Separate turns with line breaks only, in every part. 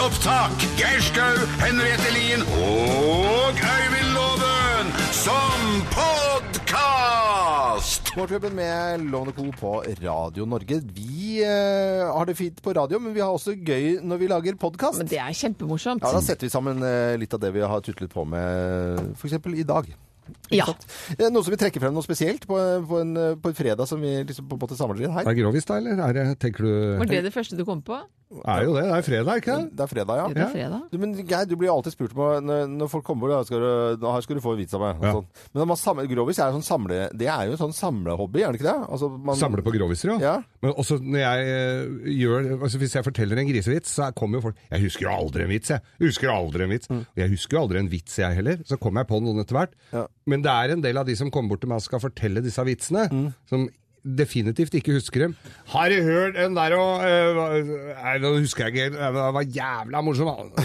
opptak. Geir Skau, Henriette Lien og Øyvind Loven som podkast!
Morgenklubben med Lovende Co. på Radio Norge. Vi eh, har det fint på radio, men vi har også gøy når vi lager podkast.
Men det er kjempemorsomt.
Ja, da setter vi sammen eh, litt av det vi har tutlet på med f.eks. i dag.
Ja.
Eh, Noe som vi trekker frem noe spesielt på, eh, på, en, på en fredag som vi liksom på en måte samler inn her.
Er det grovis da, eller? Er det, tenker du
Var det det første du kom på?
Er jo det. Det er fredag, ikke det?
Det er fredag,
Jo,
ja.
det er fredag.
Du, men Geir, du blir jo alltid spurt om når, når folk kommer bort, da skal du, da her skal du få en vits av meg. og
Ja.
Sånn. Men når man samler, grovis er, jo sånn samle, det er jo en sånn samlehobby, er det ikke det? Altså, man-
Samle på groviser, ja.
Ja.
Men også når jeg eh, gjør altså Hvis jeg forteller en grisevits, så kommer jo folk 'Jeg husker jo aldri en vits, jeg'. jeg husker aldri en vits. Og jeg husker jo aldri en vits, jeg heller. Så kommer jeg på noen etter hvert.
Mm. Ja.
Men det er en del av de som kommer bort til meg og skal fortelle disse vitsene,
Mm.
som definitivt ikke husker dem. Har du hørt den der og eh, hva- Nei, nå husker jeg ikke helt. Den var jævla morsom. da.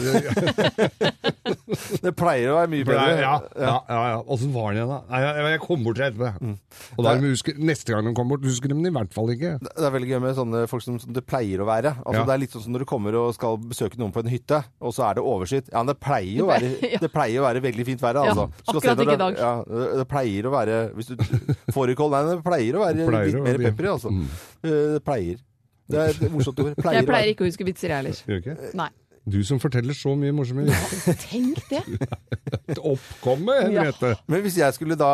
Det pleier å være mye
For det
bedre.
er- Ja, ja, ja, ja. Åssen var den igjen, da? Nei, jeg, jeg kom bort til Mm. det etterpå. Og da er de husker, neste gang de kommer bort, husker de den i hvert fall ikke.
Det er veldig gøy med sånne folk som, som det pleier å være. Altså,
Ja.
Det er litt sånn som når du kommer og skal besøke noen på en hytte, og så er det overskyet. Ja, men det pleier jo å være,
Ja.
det pleier å være veldig fint vær.
Ja,
Altså. Du skal se
akkurat
når
ikke i
det-
dag.
Ja, det- det pleier å være Hvis du fårikål Nei, det pleier å være
Det pleier
litt
å Mm.
mer
bli-
pepper i, altså. Eh, Det pleier. Det er et morsomt ord. Pleier å
Jeg
være.
pleier ikke å huske vitser, jeg heller.
Gjør du ikke?
Nei.
Du som forteller så mye morsomme vitser.
Tenk det!
Oppkomme, Henriette!
Men hvis jeg skulle da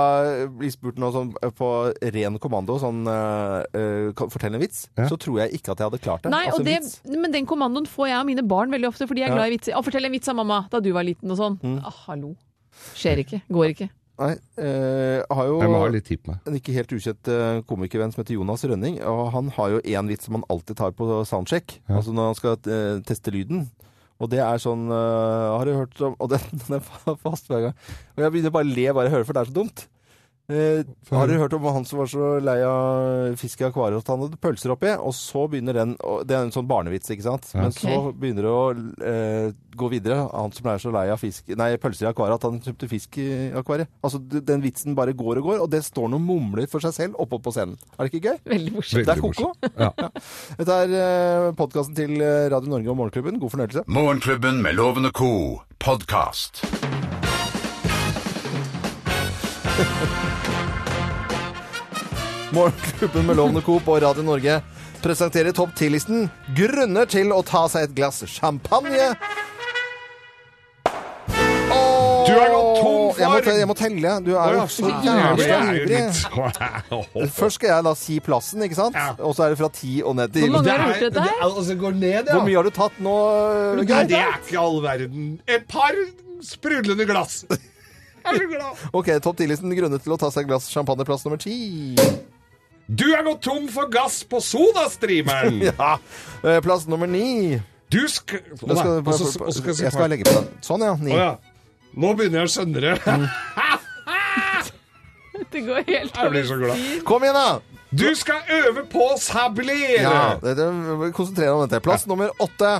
bli spurt nå sånn eh, på ren kommando, sånn eh, eh, kan- fortell en vits,
Ja.
så tror jeg ikke at jeg hadde klart det.
Nei,
Altså,
og det,
vits.
men den kommandoen får jeg av mine barn veldig ofte, for de er
Ja. Mm.
glad i vitser. Å, fortell en vits av mamma da du var liten og sånn. Ah, hallo. Skjer ikke. Går ikke.
Nei, eh, har jo
Jeg må ha litt tid på meg.
en ikke helt ukjent eh, komikervenn som heter Jonas Rønning. Og han har jo én vits som han alltid tar på soundcheck,
Ja.
altså når han skal eh, teste lyden. Og det er sånn eh, Har du hørt om Og den, den er fa- fast hver gang. Og jeg begynner bare å le bare jeg hører, for det er så dumt. Eh,
Få
har du
høre.
hørt om han som var så lei av fisk i akvariet at han hadde pølser oppi? Og så begynner den og Det er en sånn barnevits, ikke sant?
Ja.
Men så begynner det å eh, gå videre. Han som er så lei av fisk Nei, pølser i akvariet at han kjøpte fisk i akvariet. Altså, d- den vitsen bare går og går, og det står noen mumler for seg selv oppå på scenen. Er det ikke gøy?
Veldig morsomt.
Veldig
Det er koko.
morsomt. Ja.
Dette er eh, podkasten til eh, Radio Norge og Morgenklubben. God fornøyelse.
Morgenklubben med Loven og co. podkast.
Morgenklubben med Lovende Co. på Radio Norge presenterer topp 10-listen grunner til å ta seg et glass champagne. Åh,
Du er gått tom for-
Jeg må, te- jeg må telle. Du er jo så jævlig ivrig. Først skal jeg da si plassen, ikke sant?
Ja.
Og så er det fra ti og ned til
Hvor mange har du hørt dette her?
Altså, går ned,
Hvor mye har du tatt nå,
Nei, det
Geir?
er ikke all verden. Et par sprudlende glass. Er du glad?
Ok, topp 10-listen grunner til å ta seg et glass champagne, plass nummer ti.
Du er gått tom for gass på sodastreameren!
Ja. Eh, Plass nummer ni.
Du skal
Da skal du-
Og så- og så skal
Jeg skal
jeg si
legge på den. Sånn, ja. Ni.
Å ja. Nå begynner jeg å skjønne det.
Det går helt
Jeg blir så glad.
Kom igjen, da!
Du skal øve på å sablere!
Ja, det, det, vi konsentrerer om dette. Plass nummer åtte.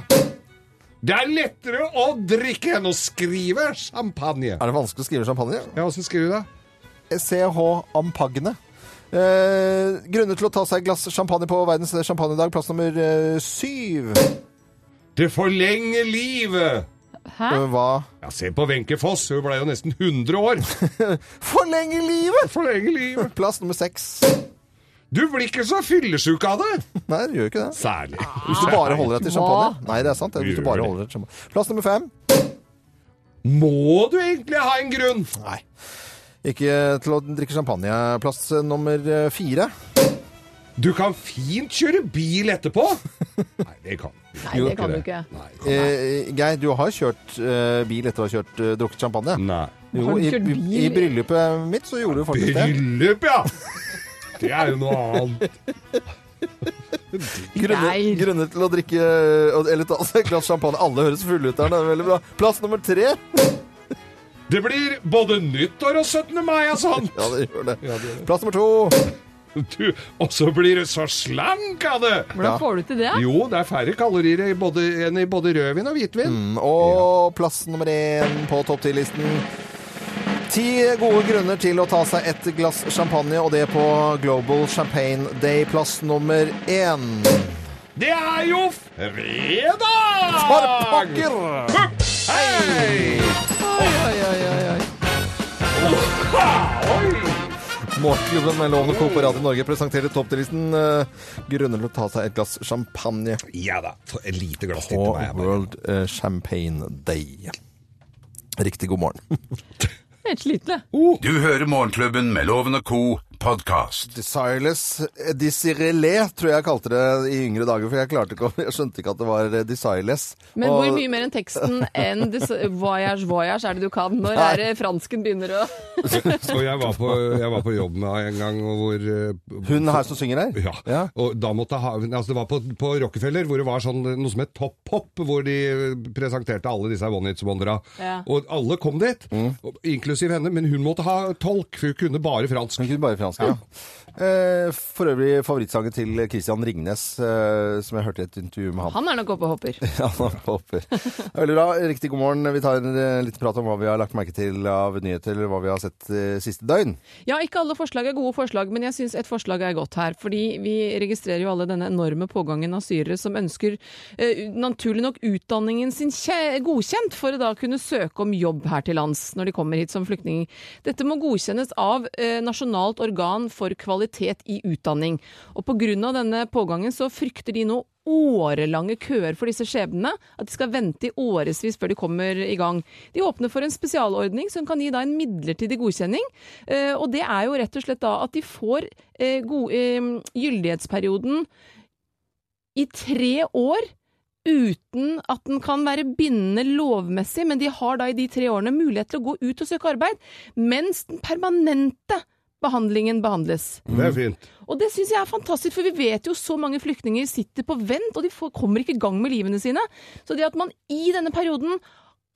Det er lettere å drikke enn å skrive champagne.
Er det vanskelig å skrive champagne?
Ja, åssen skriver du det?
CH Ampagne. Eh, grunner til å ta seg et glass champagne på verdens champagnedag. Plass nummer eh, syv.
Det forlenger livet!
Hæ?
Eh, Hva
Ja, Se på Wenche Foss, hun ble jo nesten 100 år.
Forlenge livet!
Forlenger livet.
Plass nummer seks.
Du blir ikke så fyllesyk av det.
Nei, det gjør jo ikke det.
Særlig.
Hvis du bare holder deg til champagne.
Hva?
Nei, det er sant. det er Hvis du bare holder deg til champagne. Plass nummer fem.
Må du egentlig ha en grunn?
Nei. Ikke til å drikke champagne. Plass eh, nummer eh, fire.
Du kan fint kjøre bil etterpå. Nei, det kan du
Nei, det kan du ikke.
Nei.
Eh, Geir, du har kjørt eh, bil etter å ha kjørt, eh, drukket champagne.
Nei.
Jo,
Har du
i,
kjørt bil?
i bryllupet mitt så gjorde du faktisk det.
Bryllup, ja! Det er jo noe annet.
Grunner,
Nei.
grunner til å drikke eh, Eller ta seg et glass champagne. Alle høres fulle ut her. Det er veldig bra. Plass nummer tre.
Det blir både nyttår og 17. mai og sånt.
Ja, det gjør det.
Ja, det-
Plass nummer to.
Du, og så blir du så slank av det!
Ja.
Hvordan får du til det?
Jo, det er færre kalorier i både, enn i både rødvin og hvitvin.
Og plass nummer én på topp ti-listen. Ti gode grunner til å ta seg et glass champagne, og det på Global Champagne Day. Plass nummer én.
Det er jo fredag!
For pokker!
Hup! Hei!
Oi, oi, oi, oi, oi. Morgenklubben med Lovende Co. på Radio Norge presenterer topptillisten uh, grunner til å ta seg et glass champagne
Ja da. få Et lite glass til
på
til meg. jeg bare.
World eh, Champagne Day. Riktig god morgen.
Helt slitne.
Oh.
Du hører Morgenklubben med Loven og Co. podkast.
Desireless eh, Desirelé, tror jeg kalte det i yngre dager, for jeg, klarte ikke, å- jeg skjønte ikke at det var eh, Desireless.
Men
Og-
hvor mye mer enn teksten enn dis- voyage, voyage er det du kan? Når
Nei.
er det fransken begynner å
Og jeg var, på, jeg var på jobb med en gang og hvor eh,
Hun her som synger her?
Ja.
Ja.
Og da måtte jeg ha, altså det var på, på Rockefeller, hvor det var sånn, noe som het Top Pop, hvor de eh, presenterte alle disse one-hits-wondera.
Ja.
Og alle kom dit,
Mm.
og- inklusiv henne, men hun måtte ha tolk, for hun kunne bare fransk.
Hun kunne bare fransk, ja. Eh, For øvrig favorittsangen til Christian Ringnes, eh, som jeg hørte i et intervju med ham.
Han er nok oppe og hopper.
Ja, han hopper. Veldig bra. Riktig god morgen. Vi tar eh, litt prat om hva vi har lagt merke til av nyheter, eller hva vi har sett eh, siste døgn.
Ja, ikke alle forslag er gode forslag, men jeg syns et forslag er godt her. Fordi vi registrerer jo alle denne enorme pågangen av syrere som ønsker eh, naturlig nok utdanningen sin kje- godkjent for å da kunne søke om jobb her til lands når de kommer hit som flyktninger. Dette må godkjennes av eh, Nasjonalt organ for kvalitet i utdanning. Og pga. denne pågangen så frykter de nå årelange køer for disse skjebnene. At de skal vente i årevis før de kommer i gang. De åpner for en spesialordning som kan gi da en midlertidig godkjenning. eh, Og det er jo rett og slett da at de får eh, god- eh, gyldighetsperioden i tre år uten at den kan være bindende lovmessig, men de har da i de tre årene mulighet til å gå ut og søke arbeid, mens den permanente behandlingen behandles.
Mm.
Det er fint.
Og det syns jeg er fantastisk, for vi vet jo så mange flyktninger sitter på vent, og de får, kommer ikke i gang med livene sine. Så det at man i denne perioden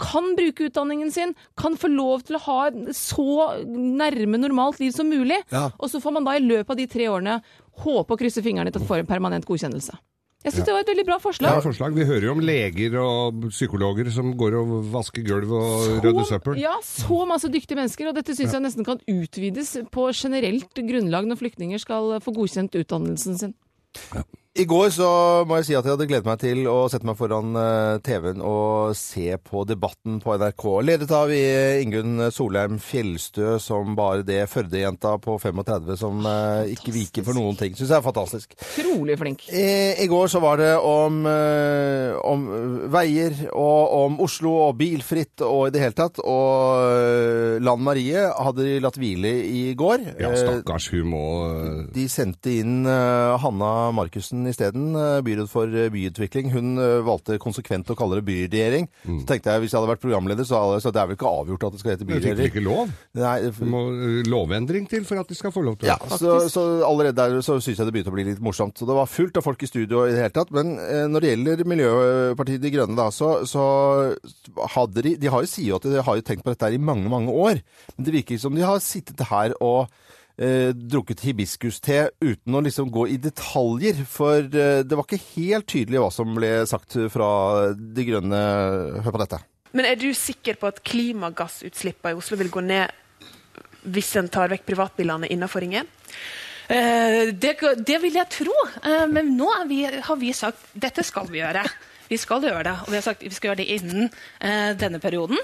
kan bruke utdanningen sin, kan få lov til å ha et så nærme normalt liv som mulig,
Ja.
og så får man da i løpet av de tre årene håpe og krysse fingrene til at man får en permanent godkjennelse. Jeg syns det var et veldig bra
Det er
forslag.
et forslag. Vi hører jo om leger og psykologer som går og vasker gulv og
Så-
rydder søppel.
Ja, så masse dyktige mennesker, og dette syns jeg nesten kan utvides på generelt grunnlag når flyktninger skal få godkjent utdannelsen sin.
I går så må jeg si at jeg hadde gledet meg til å sette meg foran eh, TV-en og se på debatten på NRK. Ledet av eh, Ingunn Solheim Fjellstø som bare det Førde-jenta på 35 som eh, ikke viker for noen ting. Syns jeg er fantastisk.
Utrolig flink.
Eh, I, I går så var det om, eh, om eh, veier og om Oslo og bilfritt og i det hele tatt. Og eh, Lan Marie hadde de latt hvile i går.
Ja,
Eh,
stakkars, hun må eh,
de sendte inn eh, Hanna Markussen isteden, uh, byråd for eh, byutvikling. Hun eh, valgte konsekvent å kalle det byregjering. Så tenkte jeg, Hvis jeg hadde vært programleder, så hadde jeg sagt det er vel ikke avgjort at det skal hete
Hun Mm. fikk
byregjering.
ikke lov.
Nei,
Hun må eh, lovendring til for at de skal få lov til
ja,
det.
så, så allerede der så syns jeg det begynte å bli litt morsomt. Så det var fullt av folk i studio i det hele tatt. Men eh, når det gjelder Miljøpartiet De Grønne, da, så, så hadde de De har jo sier jo at de har jo tenkt på dette her i mange, mange år. Men det virker som de har sittet her og eh, drukket hibiskuste uten å liksom gå i detaljer. For eh, det var ikke helt tydelig hva som ble sagt fra De Grønne. Hør på dette.
Men er du sikker på at klimagassutslippene i Oslo vil gå ned hvis en tar vekk privatbilene innenfor Ring 1?
Eh, det, det vil jeg tro, Eh, men nå er vi, har vi sagt dette skal vi gjøre. Vi skal gjøre det, og vi har sagt vi skal gjøre det innen eh, denne perioden.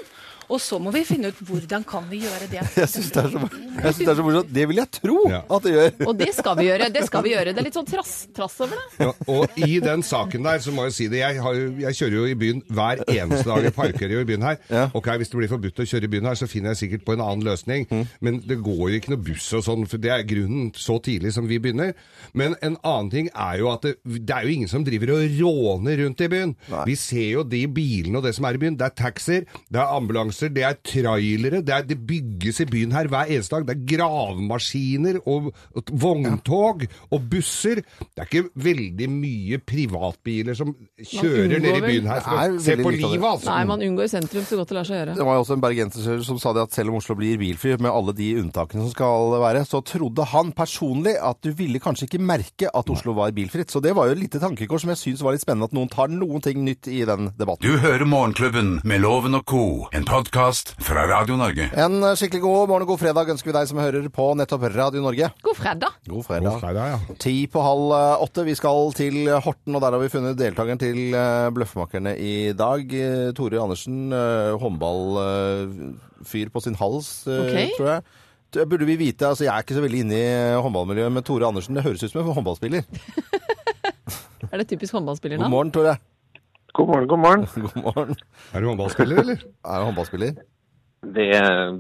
Og så må vi finne ut hvordan kan vi gjøre det.
Jeg syns det er så jeg synes det er så morsomt. Det vil jeg tro
Ja.
at det gjør.
Og det skal vi gjøre. Det skal vi gjøre. Det er litt sånn trass, trass over det.
Ja, og i den saken der, så må jeg si det. Jeg, har, jo- jeg kjører jo i byen hver eneste dag. Jeg parkerer jo i byen her.
Ja.
Ok, Hvis det blir forbudt å kjøre i byen her, så finner jeg sikkert på en annen løsning. Men det går jo ikke noe buss og sånn, for det er grunnen så tidlig som vi begynner. Men en annen ting er jo at det, det er jo ingen som driver og råner rundt i byen. Vi ser jo de bilene og det som er i byen. Det er taxier, det er ambulanser, det er trailere. Det, er, det bygges i byen her hver eneste dag. Det er gravemaskiner og, og vogntog og busser. Det er ikke veldig mye privatbiler som kjører
unngår
ned i
vel-
byen her.
Det er
For å se
veldig
på
lite av det.
livet, altså.
Nei, man unngår sentrum så godt det lar seg gjøre.
Det var jo også en bergenser som sa det at selv om Oslo blir bilfri med alle de unntakene som skal være, så trodde han personlig at du ville kanskje ikke merke at Oslo var bilfritt. Så det var jo et lite tankekors som jeg syns var litt spennende at noen tar noen ting nytt i den debatten.
Du hører Morgenklubben med Loven og Co., en podkast podkast fra Radio Norge.
En eh, skikkelig god morgen og god fredag ønsker vi deg som hører på nettopp Radio Norge.
God fredag!
God
God fredag, ja.
Ti på halv eh, åtte. Vi skal til Horten, og der har vi funnet deltakeren til eh, Bløffmakerne i dag. Eh, Tore Andersen, eh, håndballfyr på sin hals, eh,
Ok.
tror jeg. Det Burde vi vite, altså Jeg er ikke så veldig inne i eh, håndballmiljøet, men Tore Andersen det høres ut som en håndballspiller.
Er det typisk
God
håndballspillernavn?
morgen, Tore.
God morgen, god morgen.
God morgen.
Er du håndballspiller, eller?
Er du håndballspiller?
Det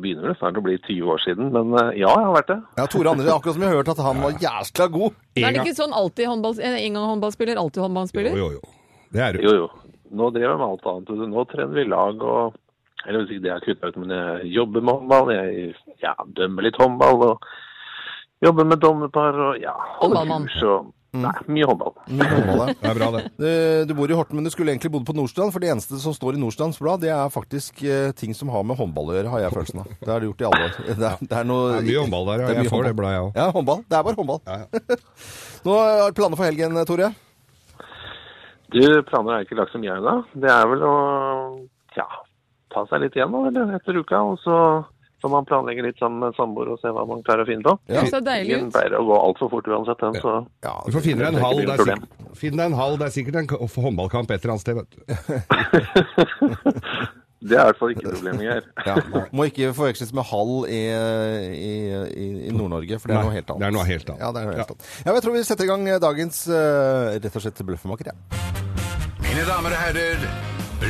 begynner vel snart å bli 20 år siden, men eh, ja, jeg har vært det.
Ja, Tore Andersen, akkurat som jeg hørte at han var jæskla god.
Men Er det ikke sånn alltid håndball, en en gang håndballspiller, alltid håndballspiller?
Jo, jo, jo. Det er du.
Jo, jo. Nå driver jeg med alt annet. vet du. Nå trener vi lag og Eller hvis ikke det jeg har kutta ut, men jeg jobber med håndball. Jeg ja, dømmer litt håndball og jobber med dommerpar og ja, holder
Håndballmann.
kurs og Nei, mye håndball.
Mye håndball, ja.
Det er bra, det.
Du, Eh, du bor i Horten, men du skulle egentlig bodd på Nordstrand, for det eneste som står i Nordstrands blad, det er faktisk eh, ting som har med håndball å gjøre, har jeg følelsen av. Det har det gjort i alle år. Det er, det er, noe,
Det er mye håndball der, ja.
er mye
Jeg får
håndball.
det bladet, jeg òg.
Ja, håndball. Det er bare håndball.
Ja,
Nå har du planer for helgen, Tore.
Du, planer er ikke lagt som jeg da. Det er vel å ja, ta seg litt igjen da, eller, etter uka. Og så får man planlegge litt sammen med samboer og se hva man klarer å finne på.
Det så deilig
Ingen
ut.
pleier å gå altfor fort uansett, den, så
Ja,
Du får finne deg en hall.
Det er
Det
ikke
er
mye
sikkert, finn deg en hall. Det er sikkert en k- håndballkamp et eller annet sted, vet du.
Det er i hvert fall ikke problemet her.
ja. Må ikke forveksles med hall i, i, i, i Nord-Norge, for det er
Nei,
noe helt annet.
det er noe helt annet.
Ja, det er noe helt annet. Ja, men jeg tror vi setter i gang eh, dagens eh, rett og slett bløffmaker, ja.
Mine damer og herrer,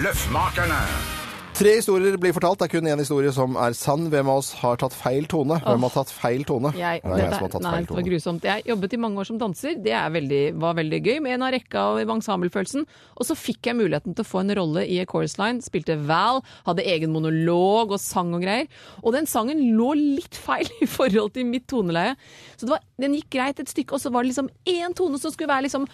Løffmakerne.
Tre historier blir fortalt. Det er kun én historie som er sann. Hvem av oss har tatt feil tone? Hvem har tatt feil tone?
Jeg,
det er jeg som har
dette,
tatt
nei,
feil
det var
tone.
grusomt. Jeg jobbet i mange år som danser. Det er veldig, var veldig gøy, med en av rekka og ensemblefølelsen. Og så fikk jeg muligheten til å få en rolle i A Chorus Line. Spilte Val, hadde egen monolog og sang og greier. Og den sangen lå litt feil i forhold til mitt toneleie. Så det var, den gikk greit et stykke, og så var det liksom én tone som skulle være liksom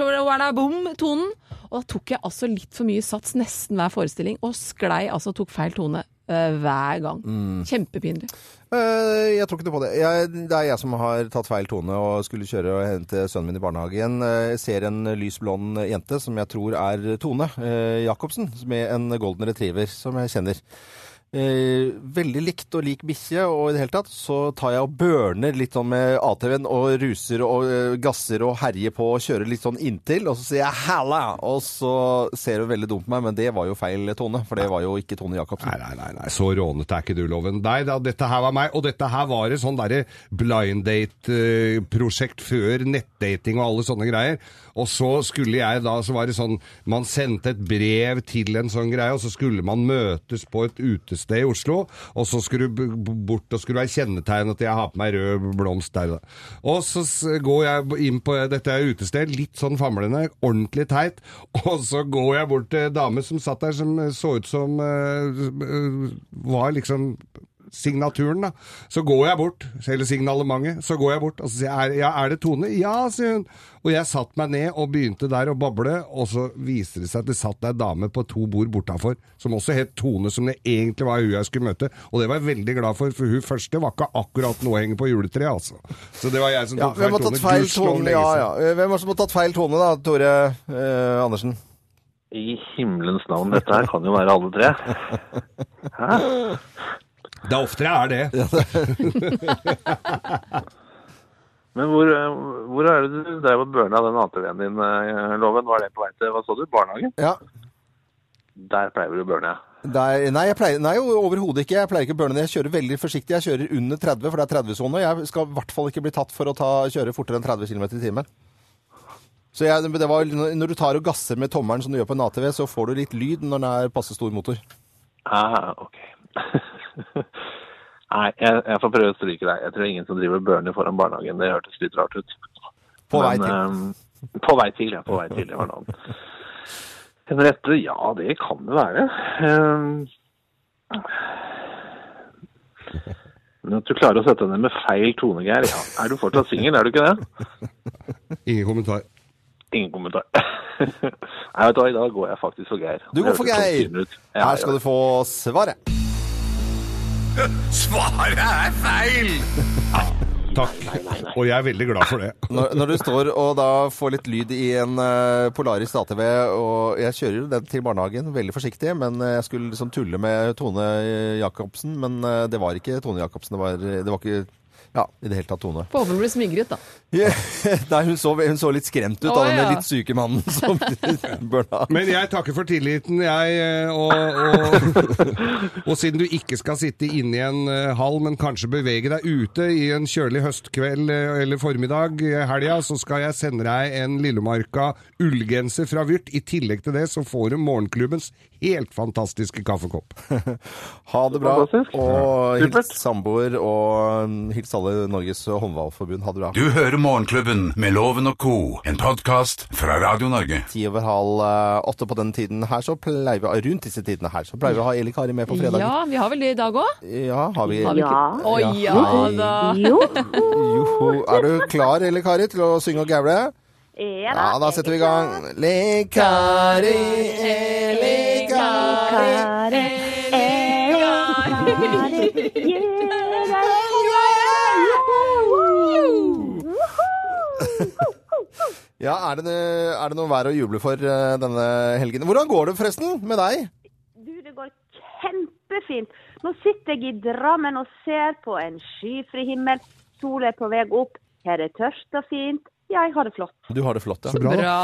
Bom-tonen. Og da tok jeg altså litt for mye sats nesten hver forestilling, og sklei altså og tok feil tone eh, hver gang. Kjempepinlig.
Eh, jeg tror ikke noe på det. Jeg, det er jeg som har tatt feil tone og skulle kjøre og hente sønnen min i barnehagen. Eh, ser en lys blond jente som jeg tror er Tone eh, Jacobsen, med en golden retriever som jeg kjenner. Eh, veldig likt og lik bikkje, og i det hele tatt så tar jeg og burner litt sånn med ATV-en og ruser og eh, gasser og herjer på og kjører litt sånn inntil, og så sier jeg 'halla', og så ser hun veldig dum på meg, men det var jo feil tone, for det var jo ikke Tone Jacobsen.
Nei, nei, nei, nei. så rånete er ikke du, Loven. Nei da, dette her var meg, og dette her var et sånn derre blind date-prosjekt før nettdating og alle sånne greier. Og så skulle jeg da, så var det sånn, man sendte et brev til en sånn greie, og så skulle man møtes på et utested i Oslo, og så skulle du b- b- bort og skulle være kjennetegn at jeg har på meg rød blomst der. da. Og så s- går jeg inn på dette utestedet, litt sånn famlende, ordentlig teit, og så går jeg bort til en dame som satt der som så ut som eh, var liksom signaturen da, så går jeg bort, eller signalementet, så går jeg bort, og så sier jeg, er, ja, er det Tone? Ja, sier hun. Og jeg satt meg ned og begynte der å bable, og så viste det seg at det satt ei dame på to bord bortafor, som også het Tone, som det egentlig var hun jeg skulle møte, og det var jeg veldig glad for, for hun første var ikke akkurat noe å henge på juletreet, altså. Så det var jeg som
Ja,
tok
hvem har
feil
tatt
Tone.
feil
Gudskjelov
tone?
lenge
Ja,
siden.
ja. Eh, Hvem har som har tatt feil tone, da, Tore eh, Andersen?
I himmelens navn, dette her kan jo være alle tre.
Det er oftere jeg er det.
Men hvor, eh, hvor er det du drev og burna den ATV-en din, eh, Loven? Var det på vei til, hva sa du, barnehagen?
Ja.
Der pleier du å burne.
Der, nei, jeg pleier, nei, jo, overhodet ikke. Jeg pleier ikke å burne det. Jeg kjører veldig forsiktig. Jeg kjører under 30, for det er 30-sone. Jeg skal i hvert fall ikke bli tatt for å ta, kjøre fortere enn 30 km i timen. Så jeg, det var, når du tar og gasser med tommelen som du gjør på en ATV, så får du litt lyd når den er passe stor motor.
Ah, ok. Nei, jeg, jeg får prøve å stryke deg. Jeg tror ingen som driver og burner foran barnehagen. Det hørtes litt rart ut.
På vei
Men,
til.
eh, på vei til, ja. På vei til, det var noe annet. Henriette, ja, det kan det være. Ehm, Eh, Men at du klarer å sette henne med feil tone, Geir. Ja. Er du fortsatt singel, er du ikke det?
Ingen kommentar.
Ingen kommentar. Nei, vet du hva, i dag går jeg faktisk for Geir.
Du går for
Det hørtes
Geir.
sånn ut. Ja,
Her skal du få svaret.
Svaret er feil!
Takk. Og jeg er veldig glad for det.
Når, når du står og da får litt lyd i en eh, Polaris ATV, og jeg kjører jo den til barnehagen, veldig forsiktig, men eh, jeg skulle liksom tulle med Tone Jacobsen, men eh, det var ikke Tone Jacobsen, det var, det var ikke ja, i det hele tatt Tone.
Håper hun blir smigret, da.
Nei, hun så, hun så litt skremt ut
Å,
av den
ja.
litt syke mannen som burna.
Men jeg takker for tilliten, jeg. eh, Og, og, og siden du ikke skal sitte inne i en eh, hall, men kanskje bevege deg ute i en kjølig høstkveld eh, eller formiddag i helga, så skal jeg sende deg en Lillemarka ullgenser fra Vyrt. I tillegg til det så får du morgenklubbens helt fantastiske kaffekopp.
Ha det bra,
Fantastisk.
og
Supert.
hils samboer, og mm, hils alle Norges håndballforbund. Ha det bra.
Du hører Morgenklubben med Loven og Co., en podkast fra Radio Norge.
Ti over halv eh, åtte på den tiden her, så pleier vi å- rundt disse tidene her, så pleier vi å ha Eli Kari med på fredag.
Ja, vi har vel det i dag òg?
Ja, har vi
Har vi ikke?
Ja.
Å ja
Hei.
da.
Jo.
Joho. Er du klar, Eli Kari, til å synge og gaule?
Ja da.
Ja, da setter vi i gang. Eli Kari, Eli Kari
Kari, Kari,
Ja, er det, noe- er det noe vær å juble for eh, denne helgen? Hvordan går det forresten med deg?
Du, det går kjempefint. Nå sitter jeg i Drammen og ser på en skyfri himmel. Sola er på vei opp. Her er tørst og fint. Ja, jeg har det flott.
Du har det flott, ja.
Bra.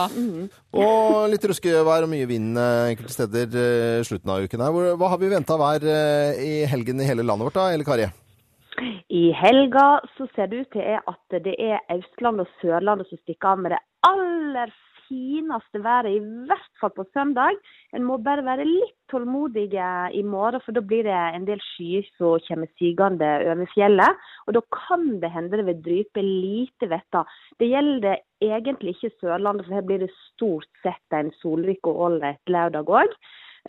Og litt ruskevær og mye vind eh, enkelte steder eh, slutten av uken her. Hvor- Hva har vi venta vær eh, i helgen i hele landet vårt da, Eli Kari?
I helga så ser det ut til er at det er Østlandet og Sørlandet som stikker av med det aller fineste været, i hvert fall på søndag. En må bare være litt tålmodige i morgen, for da blir det en del skyer som kommer sigende over fjellet. Og da kan det hende det vil drype lite vetter. Det gjelder egentlig ikke Sørlandet, for her blir det stort sett en solrik og ålreit lørdag òg.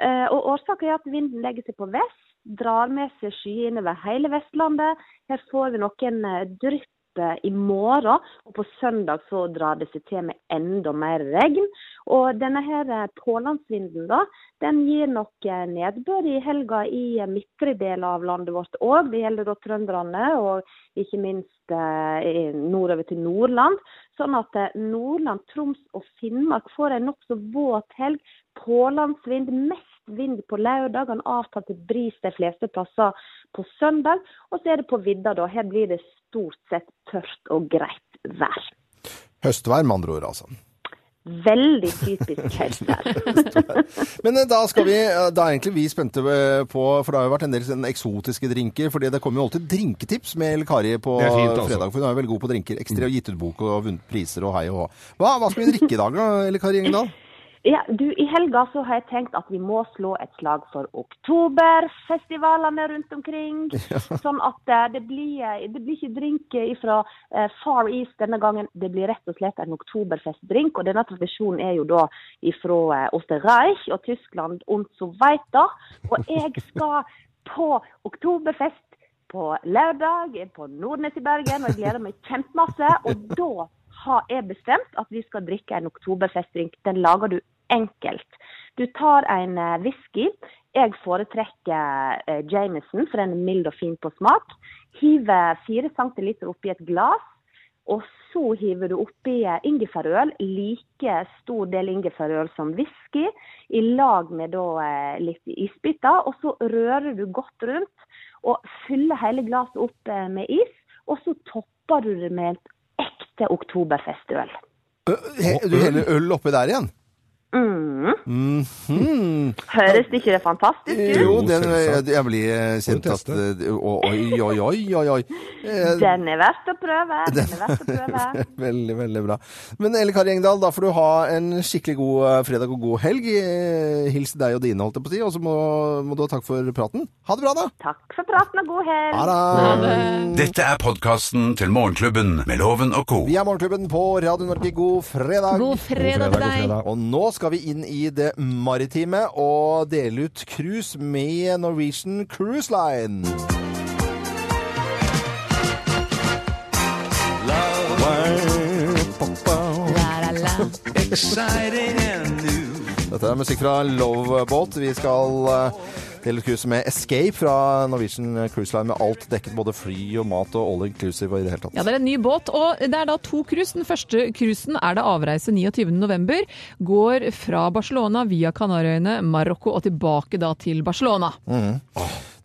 Og årsaken er at vinden legger seg på vest drar med seg skyer innover hele Vestlandet. Her får vi noen eh, drypp eh, i morgen, og på søndag så drar det seg til med enda mer regn. Og denne her eh, pålandsvinden da, den gir nok eh, nedbør i helga i eh, midtre deler av landet vårt òg. Det gjelder da trønderne og ikke minst eh, i- nordover til Nordland. Sånn at eh, Nordland, Troms og Finnmark får en nokså våt helg. Pålandsvind, mest vind på lørdagene, avtatt til bris de fleste plasser på søndag. Og så er det på vidda, da. Her blir det stort sett tørt og greit vær.
Høstvær, med andre ord, altså.
Veldig typisk høstvær.
Men eh, da skal vi, eh, da er egentlig vi spente eh, på, for det har jo vært en del sånn eksotiske drinker, fordi det kommer jo alltid drinketips med Eli Kari på
Det er fint, altså.
fredag, for hun er Mm. jo veldig god på drinker. Ekstra og gitt ut bok og vunnet priser og hei og hå. Hva, hva skal vi drikke i dag da, Eli Kari Engdahl?
Ja, du, I helga så har jeg tenkt at vi må slå et slag for oktoberfestivalene rundt omkring. Sånn at eh, det blir, det blir ikke drink fra Far East denne gangen. Det blir rett og slett en oktoberfestdrink. Og denne tradisjonen er jo da fra Osterreich og Tyskland und so weiter. Og jeg skal på oktoberfest på lørdag på Nordnes i Bergen, og jeg gleder meg kjempemasse. Og da har jeg bestemt at vi skal drikke en oktoberfestdrink. Den lager du enkelt. Du tar en eh, whisky. Jeg foretrekker eh, Jameson, for den er mild og fin på smak. Hiver fire centiliter oppi et glass. Og så hiver du oppi eh, ingefærøl, like stor del ingefærøl som whisky, i lag med da eh, litt isbiter. Og så rører du godt rundt og fyller hele glasset opp eh, med is. Og så topper du det med et ekte oktoberfestøl.
He, du heller øl oppi der igjen?
Mm.
Hmm.
Høres ikke det fantastisk ut?
Jo,
Jo,
den,
selvsagt.
jeg blir kjent
Får du
at
teste?
eh, Oi, oi, oi, oi, oi. Eh,
Den er verdt å prøve. Den er verdt å prøve.
Veldig, veldig bra. Men Elle Kari Engdahl, da får du ha en skikkelig god eh, fredag og god helg. Eh, Hils deg og dine, holdt jeg på å si. Og så må, må du ha takk for praten. Ha det bra, da!
Takk for praten og god helg.
Ha det!
Dette er podkasten til Morgenklubben med Loven og Co.
Vi er Morgenklubben på Radio Norge. God fredag!
God fredag til deg.
Og nå skal vi inn i det maritime og dele ut cruise med Norwegian Cruise Line. Dette er musikk fra Loveboat. Vi skal eh, Deler cruise med Escape fra Norwegian Cruise Line med alt dekket, både fly og mat og all inclusive og i det hele tatt.
Ja, det er en ny båt, og det er da to cruise. Den første cruisen er da avreise 29. november. Går fra Barcelona via Kanariøyene, Marokko og tilbake da til Barcelona.
Mm.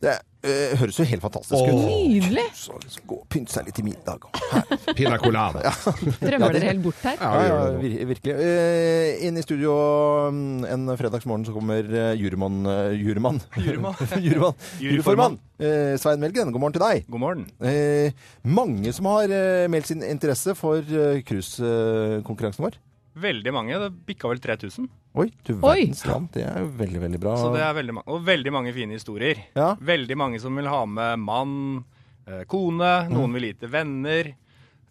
Det eh, høres jo helt fantastisk ut.
Nydelig!
Så liksom gå og pynte seg litt i middag. og-
Pina colada.
Drømmer dere helt bort her?
Ja,
Ja,
vi
ja,
gjør det nå.
vir virkelig. Eh, inn i studio mm, en fredagsmorgen så kommer eh, jurymann eh, Jurymann. Jurymann. Juryformann. Eh, Svein Melgen, god morgen til deg.
God morgen.
Eh, mange som har eh, meldt sin interesse for eh, cruisekonkurransen vår.
Veldig mange. Det bikka vel 3000.
Oi, du
Oi.
verdens land. Det er jo veldig, veldig bra.
Så det er veldig mange, og veldig mange fine historier.
Ja.
Veldig mange som vil ha med mann, eh, kone,
Mm.
noen vil gi til venner.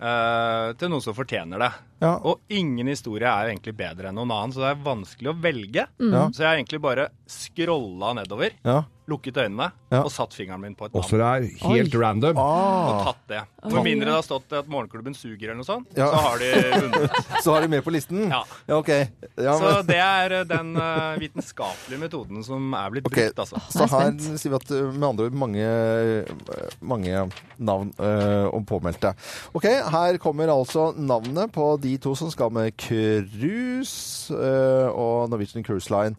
eh, til noen som fortjener det.
Ja.
Og ingen historie er jo egentlig bedre enn noen annen, så det er vanskelig å velge.
Mm. Ja.
Så jeg har egentlig bare scrolla nedover,
Ja.
lukket øynene
Ja.
og satt fingeren min på et
Også
navn.
det er helt random.
Og
Ah,
tatt det. Med mindre det har stått at morgenklubben suger eller noe sånt,
Ja.
så har de vunnet.
Ah, så har de med på listen?
Ja.
ok. Ja,
Så
men,
det er eh, den eh, vitenskapelige metoden som er blitt
Ok.
brukt,
Ah,
altså.
så
Jeg er
her
spent.
sier vi at eh, med andre ord mange, eh, mange navn eh, om påmeldte. Ok, her kommer altså navnet på de to som skal med cruise eh, og Norwegian Cruise Line.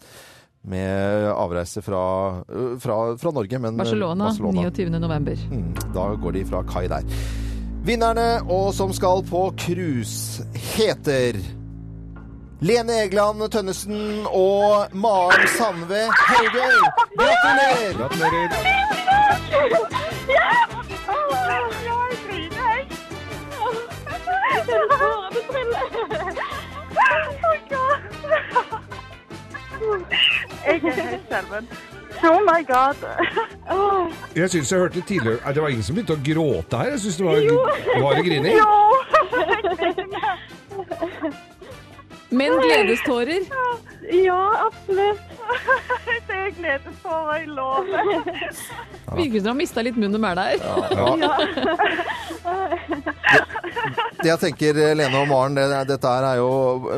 Med avreise fra, eh, fra, fra Norge, men eh,
Barcelona,
Barcelona.
29. november.
Mm, Da går de fra kai der. Vinnerne og som skal på cruise, heter Lene Egeland Tønnesen og Maren Sandve Haugøy. Gratulerer!
Gratulerer.
Jeg er helt skjelven. Oh my god. Åh,
Jeg syns jeg hørte litt tidligere Nei, Det var ingen som begynte å gråte her. Jeg synes det var, var det grining.
Men gledestårer.
Ja, absolutt. Det er glede for, jeg lover.
Virker som dere har mista litt munn og mæl der.
Ja. Det jeg tenker, Lene og Maren, det, dette her er jo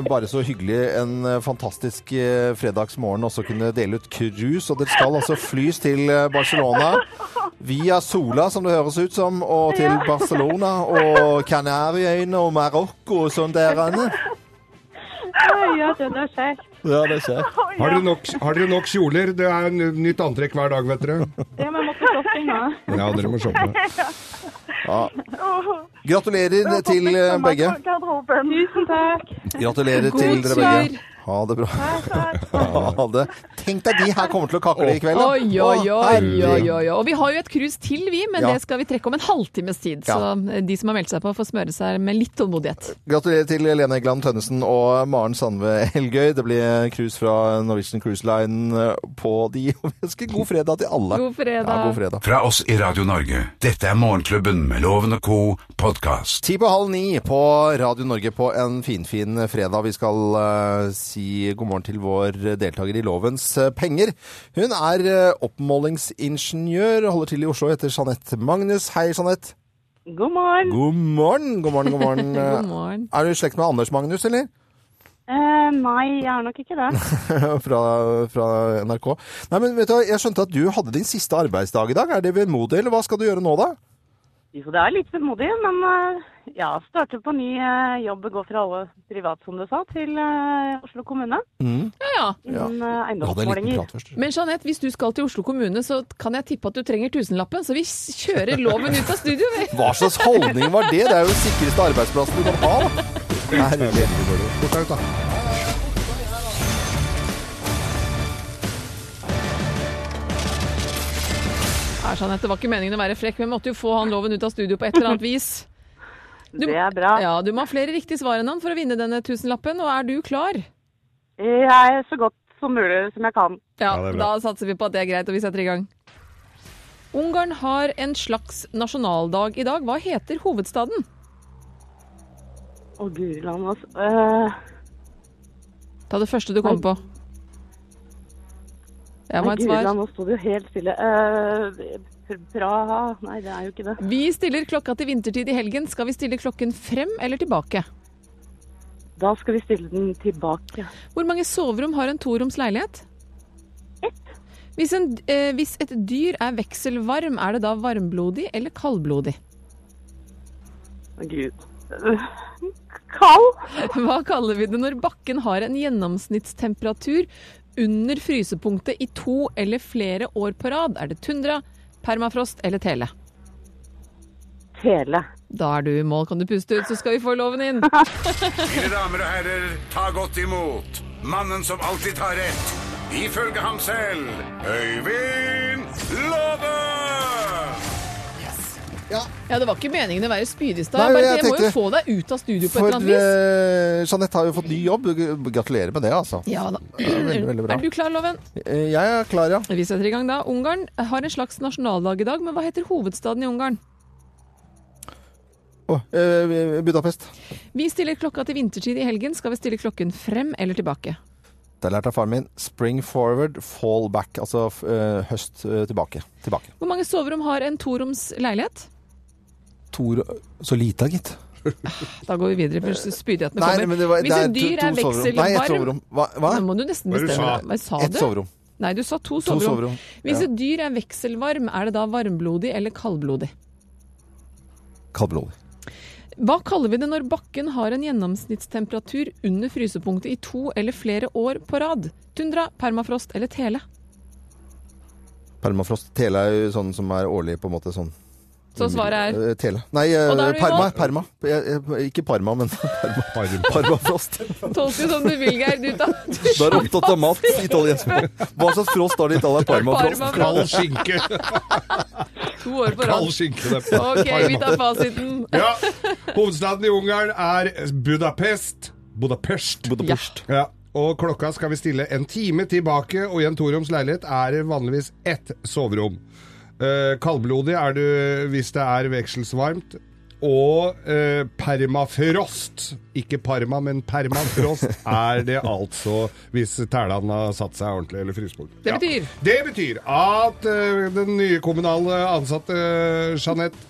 bare så hyggelig en eh, fantastisk eh, fredagsmorgen også kunne dele ut cruise. Og dere skal altså flys til eh, Barcelona via Sola, som det høres ut som, og til Barcelona og Kanariøyene og Marokko og sånn der. Anne.
Ja, den er kjekt.
Ja, det skjer.
Har dere, nok, har dere nok kjoler? Det er n- nytt antrekk hver dag, vet dere.
Ja, men jeg måtte stoppe nå.
Ja, dere må shoppe.
Gratulerer til eh, begge.
Tusen takk.
Gratulerer
God
til dere
tur.
begge. Ha det bra. Ha det. Tenk deg de her kommer til å kakle i kveld. da.
Oi, oi,
Å,
oi, oi,
herregud.
oi. Og vi har jo et cruise til, vi, men
Ja.
det skal vi trekke om en halvtimes tid. Så eh, de som har meldt seg på, får smøre seg med litt tålmodighet.
Gratulerer til Lene Egeland Tønnesen og Maren Sandve Helgøy. Det blir cruise fra Norwegian Cruise Line på de. Og vi ønsker god fredag til alle.
God fredag.
Ja, god fredag.
Fra oss i Radio Norge. Dette er Morgenklubben med Loven og co. podkast.
Ti på halv ni på Radio Norge på en finfin fin fredag. Vi skal eh, si god morgen til vår deltaker i Lovens eh, penger. Hun er eh, oppmålingsingeniør og holder til i Oslo. Heter Jeanette Magnus. Hei, Jeanette.
God morgen.
God morgen. God morgen, god morgen. Eh,
God morgen.
Er du i slekt med Anders Magnus, eller?
Eh, nei, jeg er nok ikke det.
fra, fra NRK. Nei, men vet du, hva, Jeg skjønte at du hadde din siste arbeidsdag i dag. Er det vemodig, eller hva skal du gjøre nå, da?
Jo, det er litt vemodig, men eh, ja, starter på ny eh, jobb, går fra alle privat, som du sa, til eh, Oslo kommune.
Ja, ja.
Innen
Du
eh,
hadde en liten
eiendomsmålinger.
prat først.
Men Jeanette, hvis du skal til Oslo kommune, så kan jeg tippe at du trenger tusenlappen. Så vi kjører loven ut av studio, vi.
Hva slags holdning var det? Det er jo den sikreste arbeidsplassen du kan ha. da. Herlig.
Fort deg ut, da.
Ja, Jeanette, det var ikke meningen å være frekk, men måtte jo få han loven ut av studio på et eller annet vis. Du-
Det er bra.
Ja, du må ha flere riktige svar enn han for å vinne denne tusenlappen, og er du klar?
Jeg er så godt som mulig som jeg kan.
Ja,
det er
da
bra.
satser vi på at det er greit, og vi setter i gang. Ungarn har en slags nasjonaldag i dag. Hva heter hovedstaden?
Å, guri land, altså. Eh,
Ta det første du kommer på. Jeg må
nei,
ha et
guri
svar.
land, nå sto det jo helt stille. Eh, Pr- Praha Nei, det er jo ikke det.
Vi stiller klokka til vintertid i helgen. Skal vi stille klokken frem eller tilbake?
Da skal vi stille den tilbake.
Hvor mange soverom har en toroms leilighet?
Ett.
Hvis, en, eh, hvis et dyr er vekselvarm, er det da varmblodig eller kaldblodig?
Å, Gud. Kald?
Hva kaller vi det når bakken har en gjennomsnittstemperatur under frysepunktet i to eller flere år på rad? Er det tundra, permafrost eller tele?
Tele.
Da er du i mål. Kan du puste ut, så skal vi få loven inn.
Mine damer og herrer, ta godt imot mannen som alltid tar rett. Ifølge ham selv Øyvind Låve!
Ja, Det var ikke meningen å være spydig i
Nei,
stad. Bare
jeg
Jeg må jo
tenkte-
få deg ut av studio på et
For
eller annet vis.
eh, Jeanette har jo fått ny jobb. Gratulerer med det, altså.
Ja da.
er veldig, veldig bra.
Er du klar, Loven?
Eh, Jeg er klar, ja.
Vi setter i gang da. Ungarn har en slags nasjonaldag i dag, men hva heter hovedstaden i Ungarn?
Å, eh, Budapest.
Vi stiller klokka til vintertid i helgen. Skal vi stille klokken frem eller tilbake?
Det lærte jeg av faren min. Spring forward, fall back. Altså f- eh, høst eh, tilbake. Tilbake.
Hvor mange soverom har en toroms leilighet?
Tor Så lite, gitt.
Da går vi videre, for spydigheten
Eh, Nei,
kommer.
men det var,
Hvis
det er
et dyr
to-
er
to soverom. Nei, ett
vekselvarm
soverom. Hva? hva?
Nå må du nesten
Hva er det du
bestemme
sa?
deg. Hva sa
Ett
du?
soverom.
Nei, du sa
To
to soverom.
soverom. Ja.
Hvis et dyr er vekselvarm, er det da varmblodig eller kaldblodig?
Kaldblod.
Hva kaller vi det når bakken har en gjennomsnittstemperatur under frysepunktet i to eller flere år på rad? Tundra, permafrost eller tele?
Permafrost. Tele er jo sånn som er årlig, på en måte. sånn.
Så svaret er
Eh, Tele. Nei, eh,
Og da er du i
Parma.
mål.
Parma. Jeg- jeg- Ikke Parma, men Parma. Parmafrost.
Tolk det som du vil, Geir. Du tar du-
Da Mm. er du opptatt av mat. Italiensk. Hva slags frost har det i Italia? Parmafrost?
Parmafrost
Kald skinke.
to år på
Kald
rad.
skinke. det er
Ok, vi tar
parma.
fasiten.
Ja. Hovedstaden i Ungarn er Budapest. Budapest.
Budapest.
Ja. Og klokka skal vi stille en time tilbake, og i en toroms leilighet er det vanligvis ett soverom. Eh, kaldblodig er du hvis det er vekselsvarmt. Og eh, permafrost, ikke parma, men permafrost, er det altså hvis tælan har satt seg ordentlig, eller frysepunktet.
Det betyr?
Det betyr at eh, den nye kommunale ansatte eh, Jeanette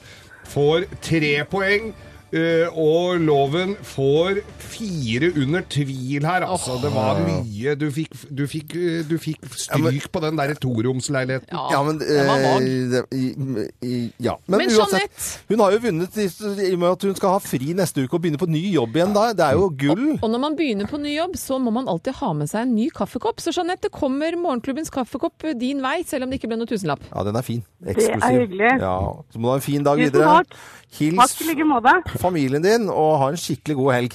får tre poeng. eh, og loven får fire under tvil her, altså. Det var mye. Du fikk, du fikk, eh, du fikk stryk på den derre toromsleiligheten.
Ja, men,
den var vag.
eh, det- i- i- ja. men,
Men
uansett,
Jeanette-
hun har jo vunnet i, i og med at hun skal ha fri neste uke og begynne på ny jobb igjen da. Det er jo gull.
Og når man begynner på ny jobb, så må man alltid ha med seg en ny kaffekopp. Så Jeanette, det kommer morgenklubbens kaffekopp din vei, selv om det ikke ble noe tusenlapp.
Ja, den er fin. Eksklusiv.
hyggelig.
Ja. Så må du ha en fin dag
Tusen
videre.
takk.
Hils
Takk i like måte.
familien din, og ha en skikkelig god helg.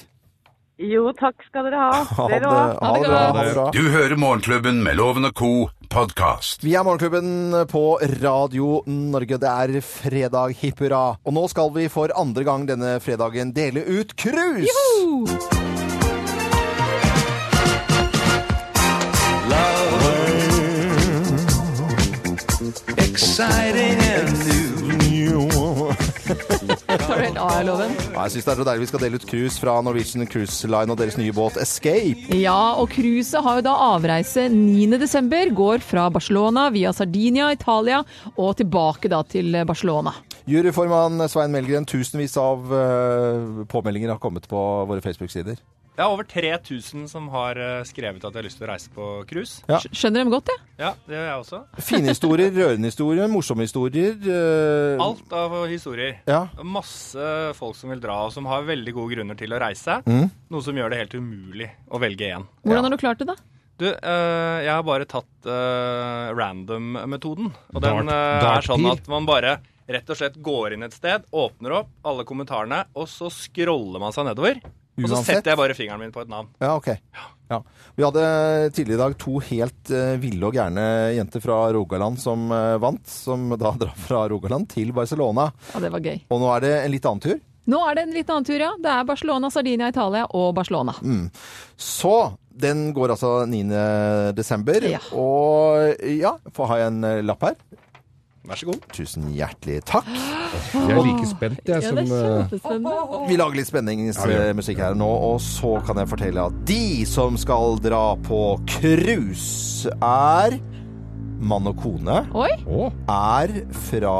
Jo, takk skal dere ha. Dere òg.
Ha det bra. Ha det bra.
Du hører Morgenklubben med Loven og Co. podkast.
Vi er Morgenklubben på Radio Norge. Det er fredag, hipp hurra. Og nå skal vi for andre gang denne fredagen dele ut krus!
Tar du helt av her, loven?
Ja, jeg syns det er så deilig vi skal dele ut krus fra Norwegian Cruise Line og deres nye båt Escape.
Ja, og cruiset har jo da avreise 9.12. Går fra Barcelona via Sardinia, Italia og tilbake da til eh, Barcelona.
Juryformann Svein Melgren, tusenvis av eh, påmeldinger har kommet på våre Facebook-sider.
Det er over 3000 som har eh, skrevet at de har lyst til å reise på cruise.
Ja.
Skj- Skjønner dem godt, jeg.
Ja, det gjør jeg også.
Fine historier, rørende historier, morsomme historier. eh,
Alt av historier.
Ja.
Masse folk som vil dra, og som har veldig gode grunner til å reise. Noe som gjør det helt umulig å velge én.
Hvordan har du klart det, da?
Du, eh, jeg har bare tatt eh, random-metoden. Og
Dart-
den eh, er sånn
dartpil.
at man bare rett og slett går inn et sted, åpner opp alle kommentarene, og så scroller man seg nedover. Og så
Uansett.
setter jeg bare fingeren min på et navn.
Ja, ok. Ja. Vi hadde tidligere i dag to helt eh, ville og gærne jenter fra Rogaland som eh, vant, som da drar fra Rogaland til Barcelona.
Ja, det var gøy.
Og nå er det en litt annen tur.
Nå er det en litt annen tur, ja. Det er Barcelona, Sardinia, Italia og Barcelona.
Så den går altså 9. desember.
Ja.
Og ja, får ha en eh, lapp her.
Vær så god.
Tusen hjertelig takk.
Jeg er like spent, jeg,
Ja,
som
det er
eh,
kjempespennende.
Vi lager litt spenningsmusikk her nå, og så kan jeg fortelle at de som skal dra på cruise, er mann og kone.
Oi!
Å,
er fra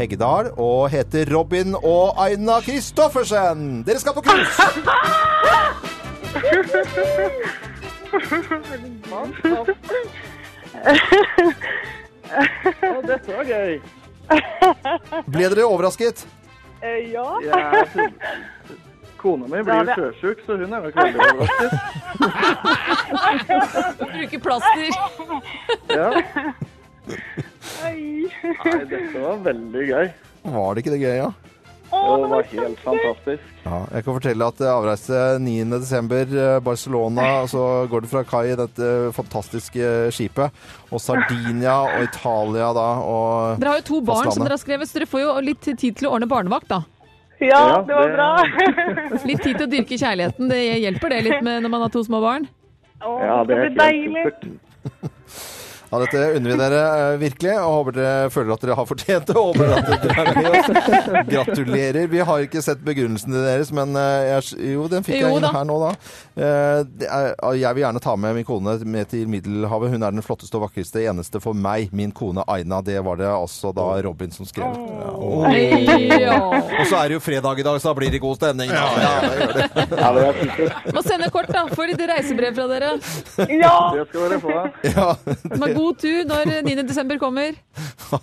Heggedal og heter Robin og Aina Kristoffersen. Dere skal på kurs!
dette var gøy.
Ble dere overrasket?
Eh, ja. Kona mi blir jo sjøsjuk, så hun er nok veldig overrasket.
Bruke plaster.
Ja. Nei, dette var veldig gøy.
Var det ikke det gøy, ja?
Det var helt fantastisk.
Ja, jeg kan fortelle at jeg avreiste 9. desember, eh, Barcelona, og så går det fra kai i dette eh, fantastiske skipet, og Sardinia og Italia da, og
Dere har jo to barn som
Fastlandet.
dere har skrevet, så dere får jo litt tid til å ordne barnevakt, da.
Ja,
det var
bra.
Litt tid til å dyrke kjærligheten. Det hjelper det litt med når man har to små barn?
Ja, det er helt supert.
ja, dette unner vi dere eh, virkelig, og håper dere føler at dere har fortjent det, og håper at dere er med oss. Gratulerer. Vi har ikke sett begrunnelsen til deres, men eh, jeg, s- jo, den fikk
Jo
jeg
da.
inn her nå da. Eh, det er, jeg vil gjerne ta med min kone med til Middelhavet. Hun er den flotteste og vakreste eneste for meg, min kone Aina. Det var det altså da Robin som skrev. Ja, og-
Ja.
Og så er det jo fredag i dag, så da blir det god stemning. da. Ja, det gjør det.
Ja, det var supert.
Må sende kort, da. Får litt reisebrev fra dere.
Det skal dere få.
De har god tur når 9. desember kommer.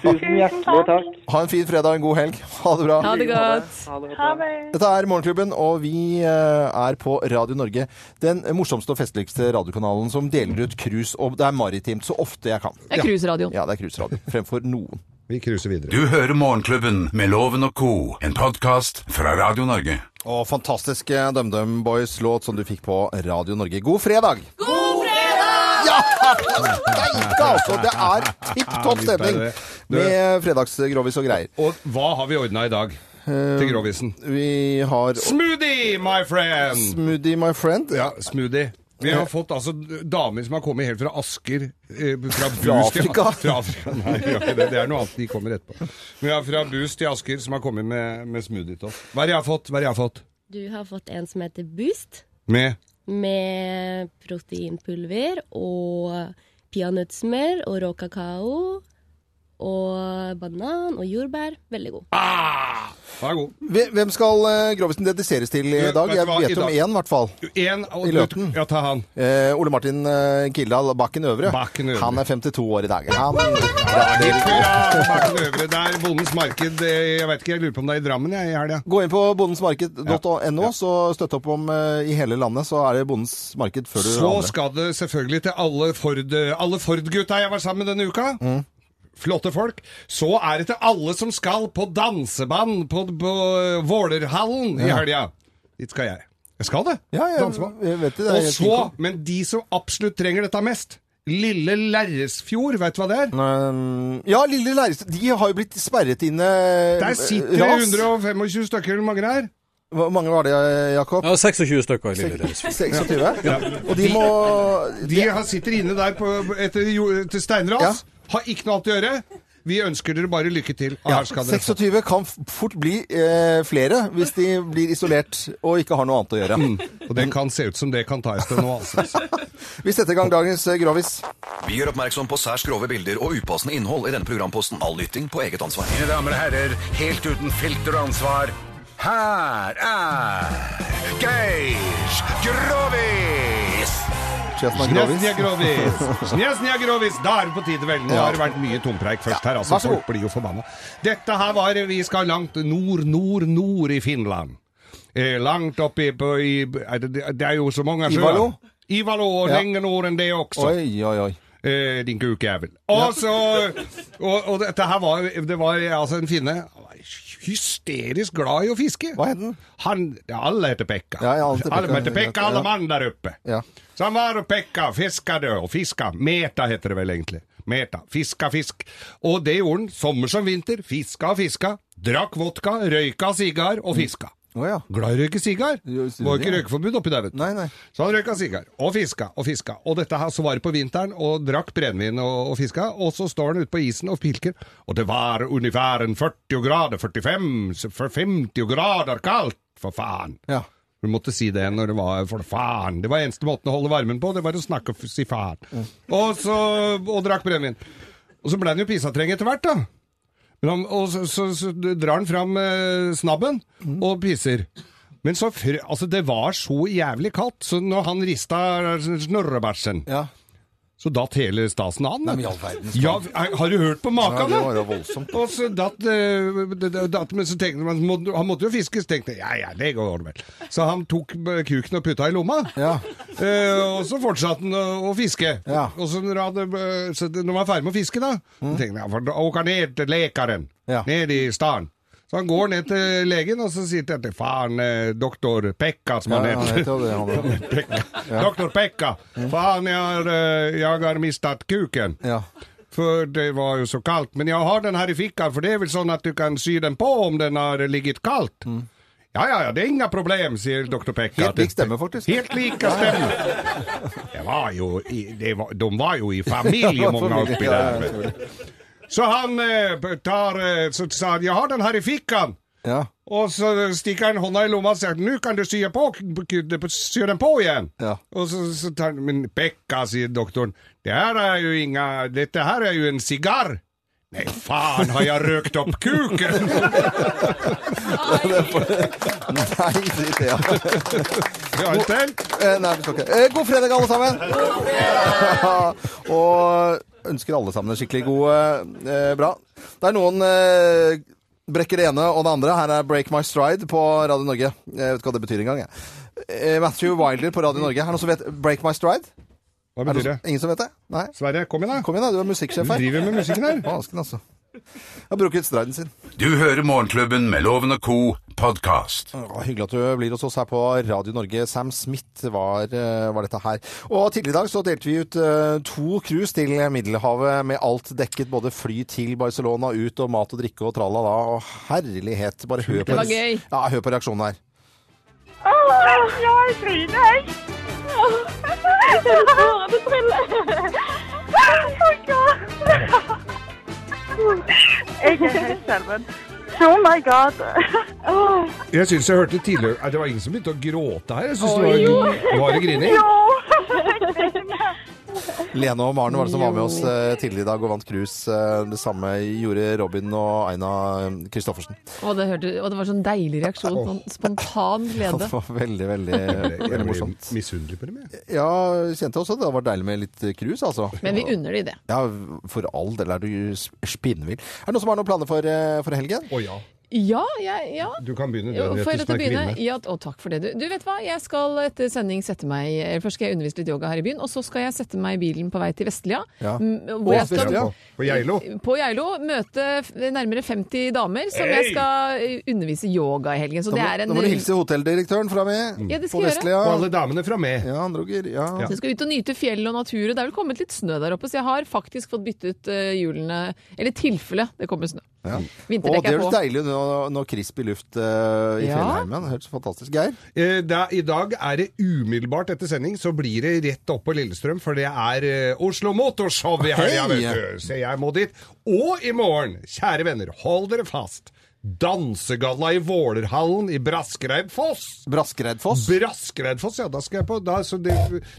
Tusen hjertelig takk.
Ha en fin fredag og en god helg. Ha det bra.
Ha det godt.
Ha det godt.
Dette er Morgenklubben, og vi eh, er på Radio Norge. Den morsomste og festligste radiokanalen som deler ut cruise, og det er maritimt så ofte jeg kan.
Det er cruiseradioen.
Ja, det er cruiseradio. Fremfor noen.
Vi cruiser videre.
Du hører Morgenklubben med Loven og co., en podkast fra Radio Norge.
Og fantastisk eh, DumDum Boys-låt som du fikk på Radio Norge. God fredag! God fredag! Ja! Steike, altså! Det er tipp topp stemning med fredagsgrovis og greier.
Og hva har vi ordna i dag til grovisen?
Vi har
Smoothie, my friend!
Smoothie, my friend.
Ja, smoothie. Vi
Eh.
har fått altså damer som har kommet helt fra Asker eh, Fra, Bus
Afrika?
Til, fra Afrika. Nei, vi har ikke det. det er noe annet de kommer etterpå. Men vi har fra Bus til Asker som har kommet med, med smoothie til oss. Hva har jeg fått? Hva har jeg fått?
Du har fått en som heter Boost,
Med
med proteinpulver og peanøttsmør og rå kakao. Og banan og jordbær. Veldig god.
Vær god.
Hvem hvem skal eh, grovisen dediseres til i
Du,
dag?
vet du
Jeg
hva, i
vet om
dag-
én, i hvert fall.
En, og,
I løten.
Ja, ta han.
Eh, Ole Martin eh, Kildahl Bakken Øvre.
Bakken Øvre.
Han er 52 år i dag. Han,
Hurra, Martin Øvre der. Bondens marked. eh, Jeg vet ikke, jeg lurer på om det er i Drammen jeg, i helga.
Gå inn på bondensmarked.no, så støtt opp om eh, i hele landet. Så er det Bondens marked før du
Så
andre.
skal det selvfølgelig til alle Ford- alle Ford-gutta jeg var sammen med denne uka.
Mm.
Flotte folk. Så er det til alle som skal på danseband på, på Vålerhallen i helga. Dit skal jeg. Jeg skal det.
Ja, jeg-
danseband.
jeg vet det, det er
Og
helt
så,
fint.
men de som absolutt trenger dette mest, Lille Lerresfjord, vet du hå det er?
Um, ja, Lille Lærestad De har jo blitt sperret inne.
Der sitter
ras.
125 stykker eller mange der.
Hvor mange var det, Jakob?
Ja, 26 stykker i Lille Deres.
26? Og de må
De har- sitter inne der på, etter, jo- etter steinras.
Ja.
Har ikke noe annet å gjøre. Vi ønsker dere bare lykke til. Og
ja,
her skal dere få.
26 kan f- fort bli eh, flere hvis de blir isolert og ikke har noe annet å gjøre.
Og det kan se ut som det kan tas til nå, altså.
Vi setter i gang dagens eh, grovis.
Vi gjør oppmerksom på særs grove bilder og upassende innhold i denne programposten. All lytting på eget ansvar.
Mine damer og herrer, helt uten filter og ansvar, her er Geir Grovis!
Chesna Grovis.
Snjesnja Grovis! Snjesnja Grovis! Da er det på tide, vel. Nå
Ja.
har det vært mye tompreik først her,
vær
altså.
så god.
Folk blir jo forbanna. Dette her var Vi skal langt nord, nord, nord i Finland. Eh, langt oppi på i, er det, det er jo så mange sjøer.
Ivalo?
Ivalo og
Ja.
lenger nord enn det også.
Oi, oi, oi.
Eh, din kukjævel. Og så og, og dette her var Det var altså en finne Han var hysterisk glad i å fiske.
Hva het den?
Han ja, Alle heter Pekka.
Ja, ja, alle heter Pekka.
alle heter Pekka,
Ja.
alle mann der oppe.
Ja.
Så han var og pekka, fiska det, og fiska. Meta heter det vel egentlig. Meta. Fiska fisk. Og det gjorde han, sommer som vinter. Fiska og fiska. Drakk vodka, røyka sigar og fiska.
Å ja.
Glad i å røyke sigar.
Mm. Jo, sier
Var
du
ikke
det?
røykeforbud oppi der, vet du.
Nei, nei.
Så han røyka sigar og fiska og fiska. Og dette her så var det på vinteren og drakk brennevin og, og fiska. Og så står han ute på isen og pilker, og det var ungefær en 40 grader, 45, så for 50 grader kaldt, for faen.
Ja.
Du måtte si det når det var for faen. Det var eneste måten å holde varmen på, det var å snakke og f- si faen. Og så og drakk brennevin. Og så ble han jo pisatreng etter hvert, da. Men han, og så, så, så drar han fram eh, snabben og pisser. Men så frø, altså det var så jævlig kaldt, så når han rista snorrebæsjen
ja.
Så datt hele stasen an.
Nei, men i all verdens
ja,
land.
har du hørt på
Ja,
maken?
det
da?
var jo voldsomt.
Og så datt, eh, det- det- datt Men så tenkte man, må- han måtte jo fiskes, tenkte jeg. Ja, ja, det går vel. Så han tok eh, kuken og putta i lomma. Eh, og så fortsatte han å, å fiske. Og så når, han, hadde, eh, så når han var ferdig med å fiske, da,
Mm.
så tenkte han, for da åker han ned til lekaren. Ned i staden. Så han går ned til legen, og så sier han til faren, eh, doktor Pekka, som
Ja,
han
ja, Mm. han
heter.
heter jo det, han da.
Pekka. Doktor Pekka, faen, jeg har, eh, jeg har mistet kuken. For det var jo så kaldt. Men jeg har den her i fikka, for det er vel sånn at du kan sy den på om den har ligget kaldt. Ja, ja, ja, det er inga problem, sier doktor Pekka.
Mm. Helt lik stemme, faktisk.
Helt lika stemme. Det var jo i, det var, de var jo i familie,
Ja,
mange
familie,
oppi
ja, ja,
der. vet du. Så han eh, tar eh, Så sa han 'jeg har den her i fikkan'. Og så stikker han hånda i lomma og sier 'nå kan du sy den på, sy den på igjen'. Og så, så tar han 'men Pekka', sier doktoren, 'det her er jo inga Dette her er jo en sigar'. Nei, faen, har jeg røkt opp kuken?
Nei, dritt, ja.
Ja, en til?
Eh, Nei, vi skal ikke. Eh, God fredag, alle sammen! Og ønsker alle sammen en skikkelig god eh, bra. Det er noen eh, brekker det ene og det andre. Her er Break My Stride på Radio Norge. Jeg vet ikke hva det betyr engang. jeg. Eh, Matthew Wilder på Radio Norge. Er det noen som vet Break My Stride?
Hva
Er det
betyr
noen- Ingen som vet det? Nei.
Sverre, kom igjen, da.
Kom igjen da, Du er musikksjef her.
Du driver med musikken her.
Vansken, altså. Jeg har brukt striden sin.
Du hører Morgenklubben med Loven og co. podkast.
Å, Hyggelig at du blir hos oss her på Radio Norge. Sam Smith var, eh, var dette her. Og tidligere i dag så delte vi ut eh, to cruise til Middelhavet med alt dekket. Både fly til Barcelona, ut og mat og drikke og tralala. Og herlighet. Bare hør på,
Det var gøy.
Ja, hør på reaksjonen her.
jeg griner, jeg. Jeg hører det trille. Oh god.
Jeg er helt skjelven.
Oh my god. Åh.
Jeg syns jeg hørte tidligere Nei, Det var ingen som begynte å gråte her. Jeg synes
Oi,
det
jo.
var, var det grining.
Jo. Jeg griner.
Lene og Maren var det som var med oss eh, tidligere i dag og vant cruise. Eh, Det samme gjorde Robin og Aina eh, Kristoffersen.
Og det, hørte, og det var sånn deilig reaksjon. Sånn spontan glede.
Det var veldig, veldig,
Jeg
veldig
blir
morsomt.
misunnelig på dem, jeg.
Ja, kjente også at det var deilig med litt cruise, altså.
Men vi unner de det.
Ja, for all del er du sp- spinnvill. Er det noen som har noen planer for, eh, for helgen?
Å ja.
Ja, jeg, ja.
Du kan begynne, du,
Jo,
Henriette,
får jeg
som
lov til å
er
begynne?
kvinne.
Ja, t- å, takk for det. Du, du vet hva, jeg skal etter sending sette meg eller Først skal jeg undervise litt yoga her i byen, og så skal jeg sette meg i bilen på vei til Vestlia.
Ja.
Mm,
På
Hvor jeg skal
Vestlia? På Geilo?
På Geilo. Møte f- nærmere 50 damer som
Hey!
jeg skal eh, undervise yoga i helgen. Så
Da
det
må,
er en Mm.
da må du hilse hotelldirektøren fra meg.
Ja, det skal
på
jeg gjøre.
Vestlia.
Og alle
damene fra meg.
Ja, han droger. Ja.
Så jeg skal ut og nyte fjell og natur. og Det er vel kommet litt snø der oppe, så jeg har faktisk fått byttet eh, hjulene Eller tilfelle det kommer snø.
Ja.
Vinterdekk
Å, det
er
høres
på.
deilig ut nå- nå krisp i luft eh, i
Ja.
fjellheimen. Det Høres fantastisk Geir?
Eh, da, I dag er det umiddelbart etter sending, så blir det rett opp på Lillestrøm, for det er eh, Oslo Motorshow i helga,
Hei!
vet du. Så jeg må dit. Og i morgen, kjære venner, hold dere fast. Dansegalla i Vålerhallen i Braskereidfoss.
Braskereidfoss?
Braskereidfoss, ja. Da skal jeg på da, så det,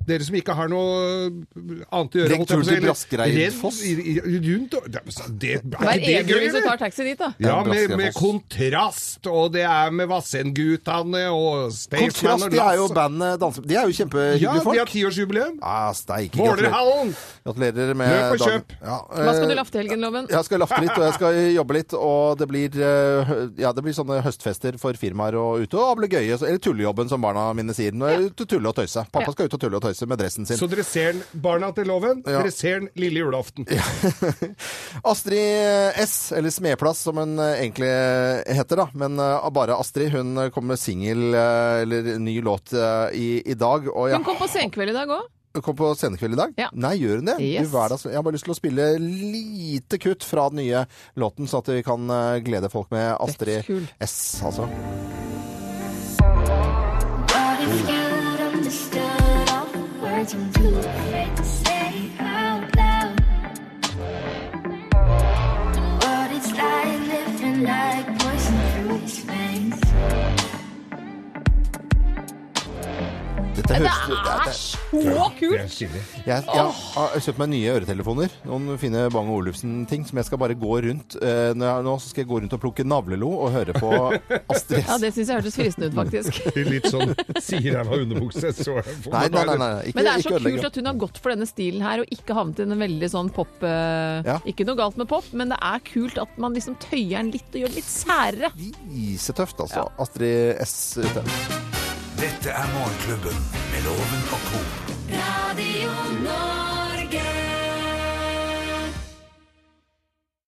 Dere som ikke har noe eh, annet å gjøre
Legg
holdt jeg på å
tur til
si, eller-
Braskereidfoss.
redd i- i- Rundt og det, det, er ikke
Vær
det
edru
gøy,
hvis du
eller?
tar taxi dit, da.
Ja, med, med
Braskereidfoss.
kontrast, og det er med Vassendgutane og Staysman
Kontrast,
og
de er jo
Lasse.
bandet danse... De er jo kjempehyggelige
Ja,
folk.
de har tiårsjubileum.
Ah, steik.
Vålerhallen!
Gratulerer med
Løp og
dagen.
kjøp.
Ja,
Hva skal
eh,
du lafte i helgen, Loven?
Jeg skal lafte litt, og jeg skal jobbe litt, og det blir, eh, hø- ja, det blir sånne høstfester for firmaer og ute, og det blir gøy, så- eller tullejobben som barna mine sier. Nå er jeg ute og tulle og tøyse. Pappa
Ja.
skal ut og tulle og tøyse med dressen sin.
Så dere ser den, barna til loven,
Ja.
dere ser den lille julaften.
Astrid S, eller Smeplass som hun eh, egentlig heter, da. Men eh, bare Astrid. Hun kommer med singel, eh, eller ny låt, eh, i, i dag. Og jeg
Hun kom på senkveld i dag òg.
kom på scenekveld i dag? Nei, gjør hun det?
Yes.
Du, hver dag, jeg har bare lyst til å spille lite kutt fra den nye låten, sånn at vi kan eh, glede folk med Astrid S, altså. Dette
Det
høres-
er så kult!
Jeg, jeg har kjøpt meg nye øretelefoner. Noen fine Bang Olufsen-ting som jeg skal bare gå rundt eh, når jeg, Nå så skal jeg gå rundt og plukke navlelo og høre på Astrid S.
Ja, det syns jeg hørtes fristende ut, faktisk.
Litt sånn sier jeg var underbukse, så jeg får
Nei, nei, nei, nei, ikke-
Men det er
ikke
så
ødelegge.
kult at hun har gått for denne stilen her, og ikke havnet i den veldig sånn pop eh,
Ja.
Ikke noe galt med pop, men det er kult at man liksom tøyer den litt og gjør den litt særere.
Isetøft, altså. Astrid S ute.
Dette er Morgenklubben med Loven og Co.
Radio Nova.